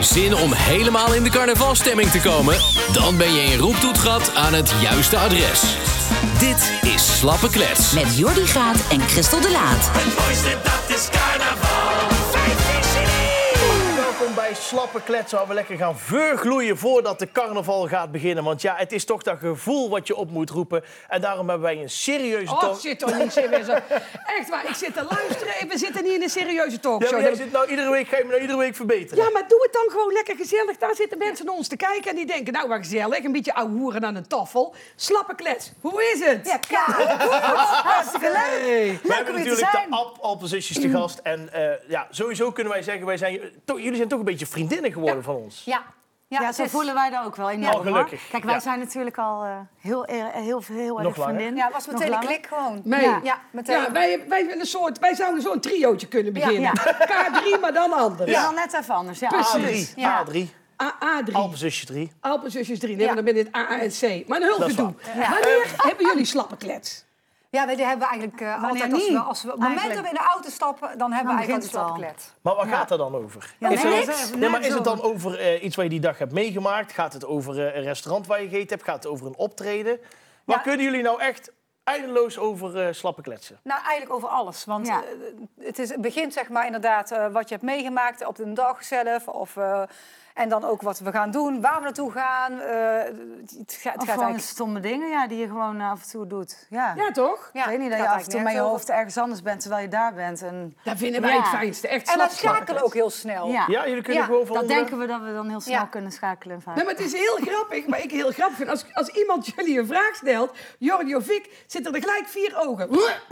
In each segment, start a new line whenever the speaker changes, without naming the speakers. Zin om helemaal in de carnavalstemming te komen? Dan ben je in Roeptoetgat aan het juiste adres. Dit is Slappe Klets.
Met Jordi Graat en Christel de Laat.
Het mooiste dat is carnaval. Vijf is in één.
Welkom bij Slappe Kletsen, waar we lekker gaan vergloeien voordat de carnaval gaat beginnen. Want ja, het is toch dat gevoel wat je op moet roepen. En daarom hebben wij een serieuze
Oh,
toon.
zit toch niet serieus. Echt waar, ik zit te luisteren en we zitten niet in een serieuze
Ja,
talkshow.
maar jij zit nou iedere week, ga je me nou iedere week verbeteren.
Ja, maar doe het dan gewoon lekker gezellig. Daar zitten mensen naar ons te kijken en die denken, nou, wat gezellig. Een beetje ouwehoeren aan een tafel. Slappe klets, hoe is het?
Ja, Karin, hartstikke leuk.
we
Leuk om
hebben
hier te
natuurlijk de
zijn.
Alp, Alpenzusjes te gast. En eh, ja, sowieso kunnen wij zeggen, wij zijn, toch- jullie zijn toch een beetje vriendinnen geworden van ons.
Ja, ja,
Ja,
het
zo
is-
voelen wij dat ook wel enorm.
Oh, gelukkig.
hoor. Kijk, wij
Ja.
zijn natuurlijk al eh, heel, heel, heel, heel
Nog
erg
langer.
vriendin.
Ja, was meteen
Nog
een
langer.
klik gewoon.
Nee.
Ja, ja, meteen.
Ja, wij, wij, willen een soort, wij zouden zo'n triootje kunnen beginnen.
Ja,
K3, maar dan anders.
Ja, dan net even anders. Ja, absoluut.
A3,
Ja.
A3,
A- A3,
Alpenzusje 3.
Alpenzusjes 3. Nee,
Ja.
maar dan ben je het A, A en C. Maar een hulp
Dat is
gedoe. Wanneer hebben jullie slappe klets?
Ja, wij die hebben eigenlijk eh, altijd als we, als we op het moment dat we in de auto stappen, Nou, dan hebben
Dan
we eigenlijk
begint
een
het al.
klets.
Maar waar gaat het dan over?
Ja,
is
nee,
het,
niks.
nee, maar is het dan over eh, iets wat je die dag hebt meegemaakt? Gaat het over eh, een restaurant waar je gegeten hebt? Gaat het over een optreden? Waar
Ja.
kunnen jullie nou echt eindeloos over eh, slappen kletsen?
Nou, eigenlijk over alles. Want
Ja.
eh, het, is, het begint zeg maar inderdaad eh, wat je hebt meegemaakt op de dag zelf. Of, eh, en dan ook wat we gaan doen, waar we naartoe gaan. eh, het gaat, het
Of
gaat
gewoon
eigenlijk...
stomme dingen ja, die je gewoon eh, af en toe doet. Ja.
Ja, toch?
Ja,
ik weet niet
het
dat je
gaat
af en toe
eigenlijk
met je
nergens
hoofd ergens anders bent terwijl je daar bent. En,
Dat vinden wij
Ja.
het fijnste. Echt
En we
slap- slappe
schakelen ook heel snel.
ja.
Ja, jullie kunnen
Ja,
gewoon van
Dat
onder-
denken we dat we dan heel snel
Ja.
kunnen schakelen. in feite.
Nee, maar het is heel grappig, maar ik heel grappig vind. Als, als iemand jullie een vraag stelt, Jordi of ik, zitten er gelijk vier ogen.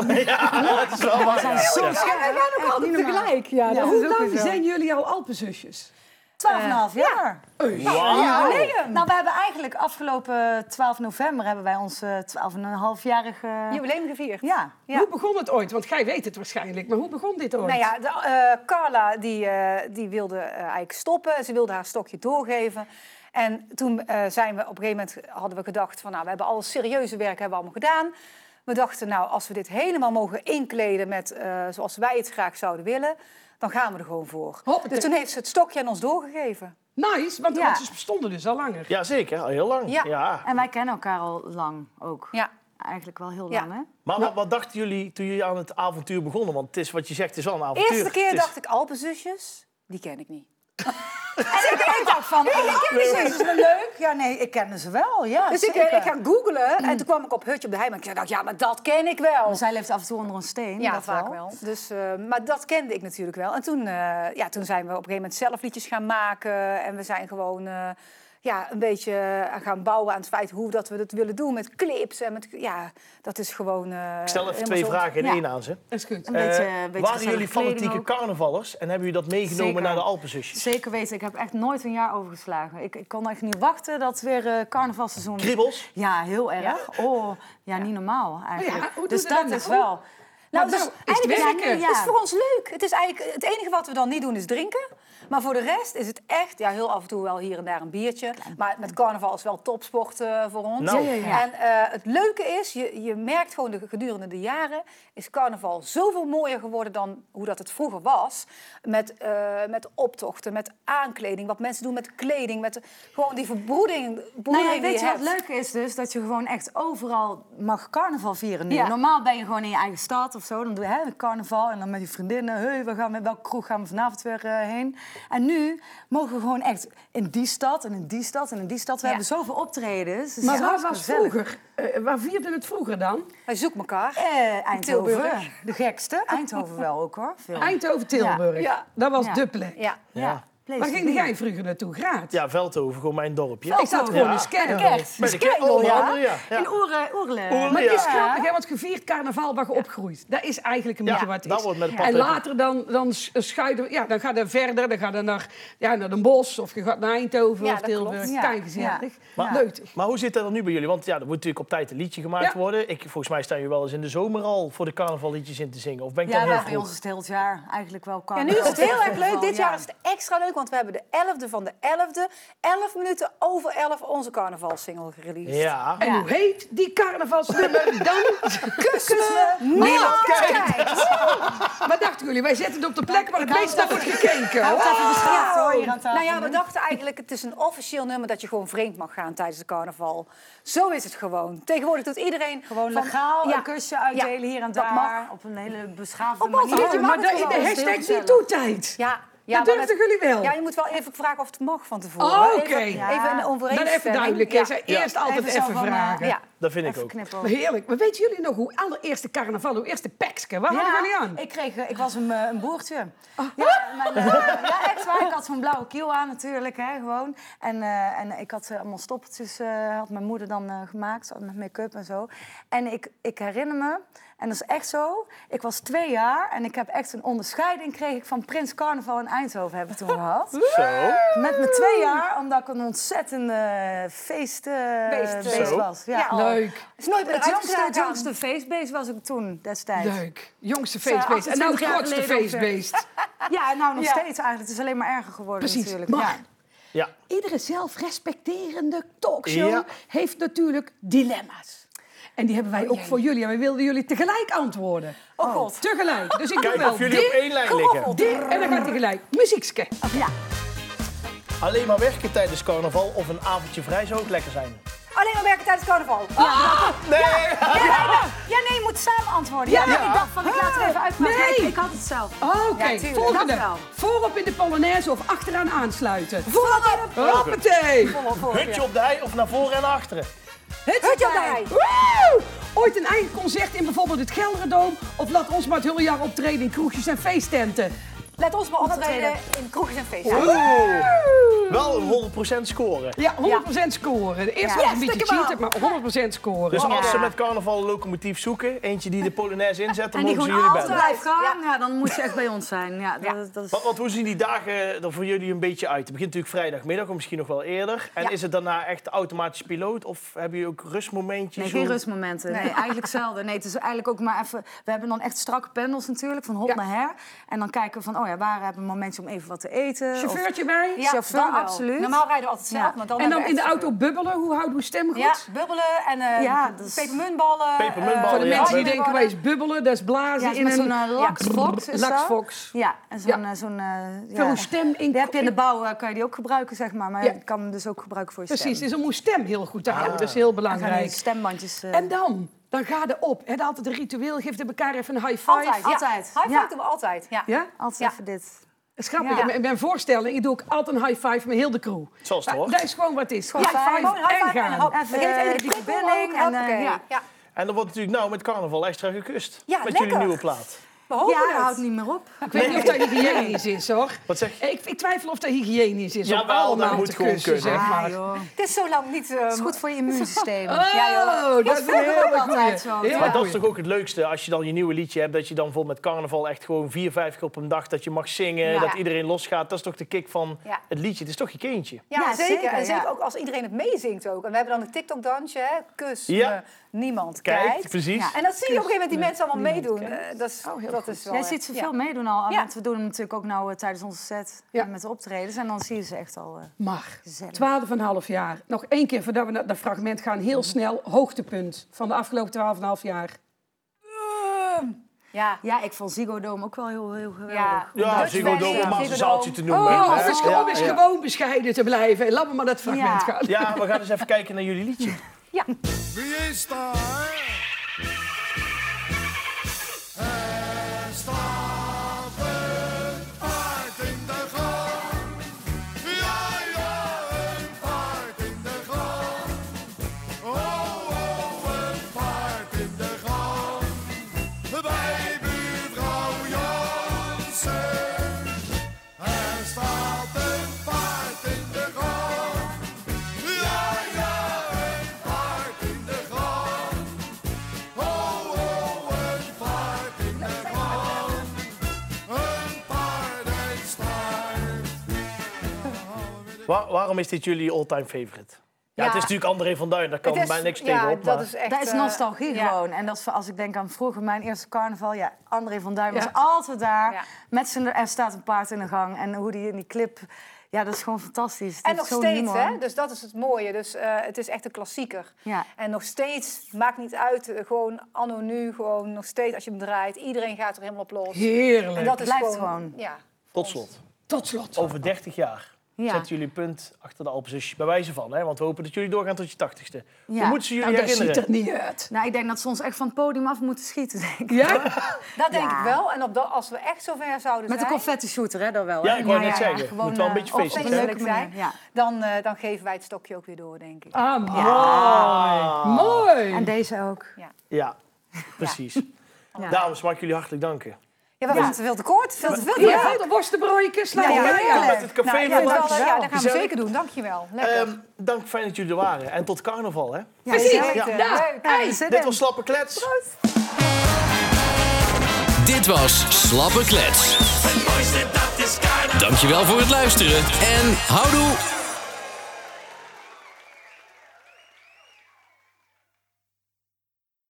Ja, dat is wel waar.
zijn
ja.
zo
Ja.
scherp.
En wij nog altijd tegelijk. Ja,
dat
Hoe
is ook
lang
weer zo.
zijn jullie jouw Alpenzusjes?
12,5 jaar.
Wauw.
Ja, Nou, we hebben eigenlijk afgelopen 12 november hebben wij ons eh, 12,5-jarige...
Jubileum gevierd.
Ja.
Ja.
Hoe begon het ooit? Want jij weet het waarschijnlijk, maar hoe begon dit ooit?
Nou ja, de, eh, Carla die, eh, die wilde eh, eigenlijk stoppen. Ze wilde haar stokje doorgeven. En toen eh, zijn we op een gegeven moment hadden we gedacht van nou, we hebben al serieuze werk hebben we allemaal gedaan. We dachten nou, als we dit helemaal mogen inkleden met eh, zoals wij het graag zouden willen, dan gaan we er gewoon voor.
Hoppatee.
Dus toen heeft ze het stokje aan ons doorgegeven.
Nice, want,
Ja.
want ze bestonden dus al langer.
Ja, zeker. Al heel lang. Ja.
Ja.
En wij kennen elkaar al lang ook.
Ja.
Eigenlijk wel heel
Ja.
lang, hè?
Maar wat, wat dachten jullie toen jullie aan het avontuur begonnen? Want het is wat je zegt, het is wel een avontuur.
Eerste keer
Het is-
dacht ik Alpenzusjes, die ken ik niet.
En ik denk ook van, oh, ik ken ze, is wel leuk. Ja, nee, ik kende ze wel, ja,
Dus ik,
zeker.
ik ga googlen en toen kwam ik op Hutje op de Heiman. Ik dacht, ja, maar dat ken ik wel.
Maar zij leeft af en toe onder een steen,
Ja,
dat
vaak wel. Dus, eh, maar dat kende ik natuurlijk wel. En toen, eh, ja, toen zijn we op een gegeven moment zelf liedjes gaan maken. En we zijn gewoon eh, ja, een beetje eh, gaan bouwen aan het feit hoe dat we dat willen doen. Met clips en met... Ja, dat is gewoon... eh,
Ik stel even
helemaal
twee
zo-
vragen in
Ja.
één aan ze.
Dat is goed.
Een beetje,
Eh,
een beetje
waren
gezellige
jullie fanatieke
kleding ook.
carnavallers en hebben jullie dat meegenomen
Zeker.
naar de Alpenzusjes?
Zeker weten, ik heb echt nooit een jaar overgeslagen. Ik, ik kon echt niet wachten dat het weer eh carnavalseizoen
Kriebels?
Ja, heel erg. Oh, ja, niet normaal eigenlijk.
Ja, hoe doe
dus
je
dat
dat
is
nou?
wel...
Nou,
Maar
dus
nou, is het
eigenlijk is
werken.
het, het is voor ons leuk. Het, is eigenlijk, het enige wat we dan niet doen is drinken. Maar voor de rest is het echt, ja, heel af en toe wel hier en daar een biertje. Maar met carnaval is wel topsport eh, voor ons.
Nou. Ja,
ja, ja.
En eh, het leuke is, je, je merkt gewoon de, gedurende de jaren... is carnaval zoveel mooier geworden dan hoe dat het vroeger was. Met, eh, met optochten, met aankleding, wat mensen doen met kleding. Met gewoon die verbroeding,
Nou
broedering die
ja, weet je wat
hebt.
leuk is dus? Dat je gewoon echt overal mag carnaval vieren nu.
Ja.
Normaal ben je gewoon in je eigen stad of zo. Dan doe je hè, carnaval en dan met je vriendinnen. Hey, we gaan, met welke kroeg gaan we vanavond weer eh, heen? En nu mogen we gewoon echt in die stad en in die stad en in die stad. We
Ja.
hebben zoveel optredens. Dus
Maar
het is
waar
hartstikke
was
gezellig.
vroeger? Eh, waar vierde het vroeger dan?
Wij zoeken elkaar.
Eh, Eindhoven.
Tilburg.
De gekste. Eindhoven wel ook hoor. Veel.
Eindhoven-Tilburg.
Ja. Ja.
Dat was
Ja.
de plek.
Ja.
Ja.
Waar ging jij vroeger naartoe? Graat.
Ja, Veldhoven, gewoon mijn dorpje.
Ik zat gewoon
Ja.
in Skerm.
Bij de kerk, onder andere, ja. Ja.
In Oerle. Oerle.
Oerle,
Maar het is
Ja.
grappig, hè, want gevierd carnaval waar je opgroeit. Dat is eigenlijk een
Ja,
beetje wat het
dat
is.
wordt met
en
paplepel.
later dan, dan s- schuiven... Ja, dan gaat hij verder. Dan gaat hij naar, ja, naar Den Bosch of je gaat naar Eindhoven
Ja,
of
dat
Tilburg.
klopt.
Ja,
Keigezellig.
ja. Maar-
Leuk.
Maar hoe zit dat dan nu bij jullie? Want ja, er moet natuurlijk op tijd een liedje gemaakt
Ja.
worden. Ik, volgens mij staan jullie wel eens in de zomer al voor de carnavalliedjes in te zingen. Of ben ik
Ja,
dan heel
maar bij
vroeg?
ons is het heel het jaar eigenlijk wel
Ja,
carnaval.
nu is het heel erg
Carnaval,
leuk. Dit
ja.
jaar is het extra leuk, want want we hebben de 11e van de 11e, 11 minuten over 11 onze carnavalsingle gereleased.
Ja.
En hoe heet die carnavalsnummer dan?
Kussen we
Oh,
niemand kijkt.
Wat dachten jullie? Wij zetten het op de plek waar het meest naar wordt gekeken.
Hou
hoor.
het even beschermd hoor, hier aan tafel.
Nou ja, we dachten eigenlijk, het is een officieel nummer dat je gewoon vreemd mag gaan tijdens de carnaval. Zo is het gewoon. Tegenwoordig doet iedereen
Gewoon
van-
legaal
Ja.
een kusje uitdelen hier en
dat
daar.
mag.
Op een hele beschaafde
Op
manier.
een-
Oh, maar de, de hashtag niet toe tijd.
Ja, ja
Dat
maar
durfden jullie wel?
Ja, je moet wel even vragen of het mag van tevoren.
Oh, oké.
Even-
Ja.
Even een
Dan
overeenstemming.
even duidelijk.
Ja.
hè. Zij Eerst altijd
Even zo
even,
van, eh,
vragen.
Ja.
Dat vind ik
Even
ook.
knippen.
Heerlijk. Maar weten jullie nog hoe allereerste carnaval, hoe eerste peksken? Waar hadden jullie aan?
ik, kreeg, eh, ik was een, eh, een boertje. Ja, mijn, eh, ja, echt waar. Ik had zo'n blauwe kiel aan natuurlijk, hè, gewoon. En, eh, en ik had eh, allemaal stoppeltjes, eh, had mijn moeder dan eh, gemaakt, met make-up en zo. En ik, ik herinner me, en dat is echt zo, ik was twee jaar en ik heb echt een onderscheiding kreeg ik van Prins Carnaval in Eindhoven, heb ik toen gehad.
Zo.
Met mijn twee jaar, omdat ik een ontzettende feest, eh,
Beest,
beest
Zo.
was.
Ja.
al.
Leuk.
Is nooit meer eruit
Het jongste, het
geraakt.
jongste feestbeest was ik toen destijds.
Leuk. Jongste
Zij
feestbeest. En nou het
28 jaar
grootste
geleden ongeveer.
feestbeest.
Ja, en nou nog
Ja.
steeds eigenlijk. Het is alleen maar erger geworden
Precies.
natuurlijk.
Maar
Ja.
Ja.
iedere zelfrespecterende talkshow
Ja.
heeft natuurlijk dilemma's. En die hebben wij ook voor jullie. En wij wilden jullie tegelijk antwoorden.
Oh god.
Tegelijk. Dus ik doe
Kijk
wel
of jullie op
dit,
één lijn liggen.
dit en dan gaat tegelijk. Muziekske.
Alleen maar werken tijdens carnaval of een avondje vrij zou ook lekker zijn.
Alleen maar werken tijdens carnaval.
Nee!
ja, nee, je moet samen antwoorden. Ja,
Ja.
ik dacht van, ik laat het even uitmaken.
Nee.
Ik, ik had het zelf.
Oké,
tuurlijk,
volgende.
dat wel.
Voorop in de Polonaise of achteraan aansluiten.
Voorop.
Hoppatee.
Voorop, voorop, ja.
Hutje op de hei of naar voren en naar achteren.
Hutje op de hei.
Woe! Ooit een eigen concert in bijvoorbeeld het Gelderdoom... of laat ons maar het hele jaar optreden in kroegjes en feesttenten.
Let ons maar optreden eh, in kroegjes en feesten.
Wel 100% scoren.
Ja, 100% scoren. De eerste
Ja.
was een beetje cheaten, maar 100% scoren.
Dus als ze
Ja.
met carnaval een locomotief zoeken, eentje die de Polonaise inzet, dan
En die
mogen ze
gewoon
jullie
altijd
bellen.
blijft gaan. Ja, dan moet je echt bij ons zijn. Ja, dat, dat is...
Want, want hoe zien die dagen er voor jullie een beetje uit? Het begint natuurlijk vrijdagmiddag, of misschien nog wel eerder. En
Ja.
is het daarna echt automatisch piloot? Of hebben jullie ook rustmomentjes?
Nee, geen
Hoe-
rustmomenten. Nee, eigenlijk zelden. Nee, het is eigenlijk ook maar even... We hebben dan echt strakke panels natuurlijk, van hot
Ja.
naar her. En dan kijken we van, oh ja, waar hebben we een momentje om even wat te eten? Of-
Chauffeurtje bij.
Ja, chauffeur,
dan wel.
absoluut.
Normaal rijden we altijd zelf,
Ja.
maar dan
En dan in
hebben
de
we echt-
auto bubbelen. Hoe houden we stem goed?
Ja, bubbelen en eh
Ja, dat is-
pepermuntballen.
Pepermuntballen,
eh,
Voor de
ja,
mensen die
dat-
denken, wij is bubbelen, dat is blazen.
Ja,
in
met
een
zo'n eh, laksfox. is dat?
laksfox.
Ja, en zo'n...
Ja.
eh, zo'n, eh,
Voor
ja.
uw stem in...
Die heb je in de bouw, eh, kan je die ook gebruiken, zeg maar. Maar
Ja.
je kan hem dus ook gebruiken voor je stem.
Precies, dus om uw stem heel goed te houden. Dat is heel
Dan gaan die
belangrijk.
stembandjes... eh,
En dan? Dan ga je op. Heb altijd een ritueel, geef elkaar even een high five.
Altijd,
Altijd.
Ja. High five
Ja.
doen we altijd. Ja.
Ja?
Altijd
Ja.
even dit.
Dat is grappig.
Ja.
Ik ben- ben voorstelling. Ik doe ook altijd een high five met heel de crew.
Zoals het
Maar
hoort.
Dat is gewoon wat het is.
Gewoon
high
fijn.
five,
Gewoon high five
en
en
gaan.
hop.
Even,
Vergeet
eh,
even
die
die
verbinding
verbinding.
en,
ja.
eh, ja.
Ja.
En er wordt natuurlijk nou met carnaval extra gekust.
Ja,
met jullie
lekker.
nieuwe plaat.
We
Ja,
Oh,
hopen
dat
het.
houdt niet meer op.
Ik weet niet of dat hygiënisch is, hoor.
Wat zeg je?
Ik, ik twijfel of dat hygiënisch is. om
Jawel, dat
allemaal
moet
te
gewoon
kussen,
kunnen.
zeg maar.
Ah, joh. Het
Het is zo lang niet... eh,
is goed voor je immuunsysteem.
Oh, dat is
vroeger
heel
ook
erg
altijd zo.
Heel
Ja.
Maar dat
erg goeie.
is toch ook het leukste als je dan je nieuwe liedje hebt. Dat je dan bijvoorbeeld met carnaval echt gewoon vier, vijf keer op een dag dat je mag zingen.
Ja.
Dat iedereen losgaat. Dat is toch de kick van
Ja.
het liedje. Het is toch je kindje.
Ja,
Ja,
zeker.
zeker,
En zeker
ja.
ook als iedereen het meezingt ook. En we hebben dan een TikTok-dansje, hè. Kus
Ja.
me, niemand
Kijkt,
kijkt.
precies.
En dat zie je op een gegeven moment die mensen allemaal meedoen. Eh, dat is, dat is wel
Oh, Jij
echt-
ziet ze
ja.
veel meedoen al,
Ja.
want we doen hem natuurlijk ook nou eh, tijdens onze set
Ja.
eh, met de optredens. En dan zie je ze echt al... eh,
Maar,
Gezellig.
twaalf en een half jaar. Nog één keer voordat we naar dat fragment gaan. Heel snel, hoogtepunt van de afgelopen twaalf en een half jaar.
Ja.
Ja, ik vond Ziggo Dome ook wel heel, heel geweldig.
Ja.
Ja,
Dutch
Ziggo
Belly,
Dome, om maar eens
Ziggo Dome.
een zaaltje te noemen.
Oh,
hè?
dus
Ja,
om eens
ja.
gewoon bescheiden te blijven. En Laat me maar dat fragment
Ja.
gaan.
Ja, we gaan eens even kijken naar jullie liedje.
Wie is daar? Er staat een paard in de gang. Ja, ja, een paard in de gang. Oh, oh, een paard in de gang. Bij buurvrouw Jansen. Er staat een paard in de gang. Ja, ja, een paard in de gang. Oh, oh, een paard in de gang. Een paardenstaart.
Wa- waarom is dit jullie all-time favorite? Ja, het is natuurlijk André van Duin, daar kan
Het is-
mij niks
ja,
tegen op.
dat
maar-
is echt...
dat is
eh,
nostalgie
ja.
gewoon. En dat is, als ik denk aan vroeger, mijn eerste carnaval. Ja, André van Duin
Ja.
was altijd daar.
Ja.
Met zijn, er staat een paard in de gang. En hoe die in die clip... Ja, dat is gewoon fantastisch. Die
En
heeft
nog
zo'n
steeds,
humor.
hè? Dus dat is het mooie. Dus eh, het is echt een klassieker.
Ja.
En nog steeds, maakt niet uit, eh, gewoon anno nu, gewoon nog steeds als je hem draait. Iedereen gaat er helemaal op los. En
Heerlijk.
dat is
Blijft gewoon.
gewoon. Ja.
Tot slot,
Tot slot.
over 30 jaar
Ja.
zetten jullie punt achter de Alpenzusje. Bij wijze van, hè? want we hopen dat jullie doorgaan tot je 80ste. Hoe
Ja.
moeten ze jullie
Nou, dat
herinneren?
ziet er niet uit.
Nou, ik denk dat ze ons echt van het podium af moeten schieten, denk ik.
Ja?
Dat denk
Ja.
ik wel. En op dat, als we echt zover zouden
Met een
zijn,
confetti shooter, hè, dan wel.
Ja,
hè?
ik wou net zeggen. Moet wel een
eh,
beetje
op
feestelijk
een
zijn.
leuke manier, ja.
dan, eh, dan geven wij het stokje ook weer door, denk ik.
Ah, mooi.
En
Mooi.
deze ook.
Ja, precies. Dames, mag ik jullie hartelijk danken.
Ja, we waren te veel te kort. Veel te veel te
Ja, de worstenbroodjes. laat
Ja,
maar.
ja, ja.
Met het café
Nou, Ja,
van
dat,
Max.
wel, ja, dat gaan we
Gezellig.
zeker doen. Dankjewel. Lekker.
Ehm, dank, fijn dat jullie er waren. En tot carnaval, hè?
Ja,
Precies.
zeker.
Leuk, eh,
Ja.
leuk.
Hey.
Dit was Slappe Klets.
Dit was Slappe Klets.
Het mooiste dat is carnaval.
Dankjewel voor het luisteren en houdoe!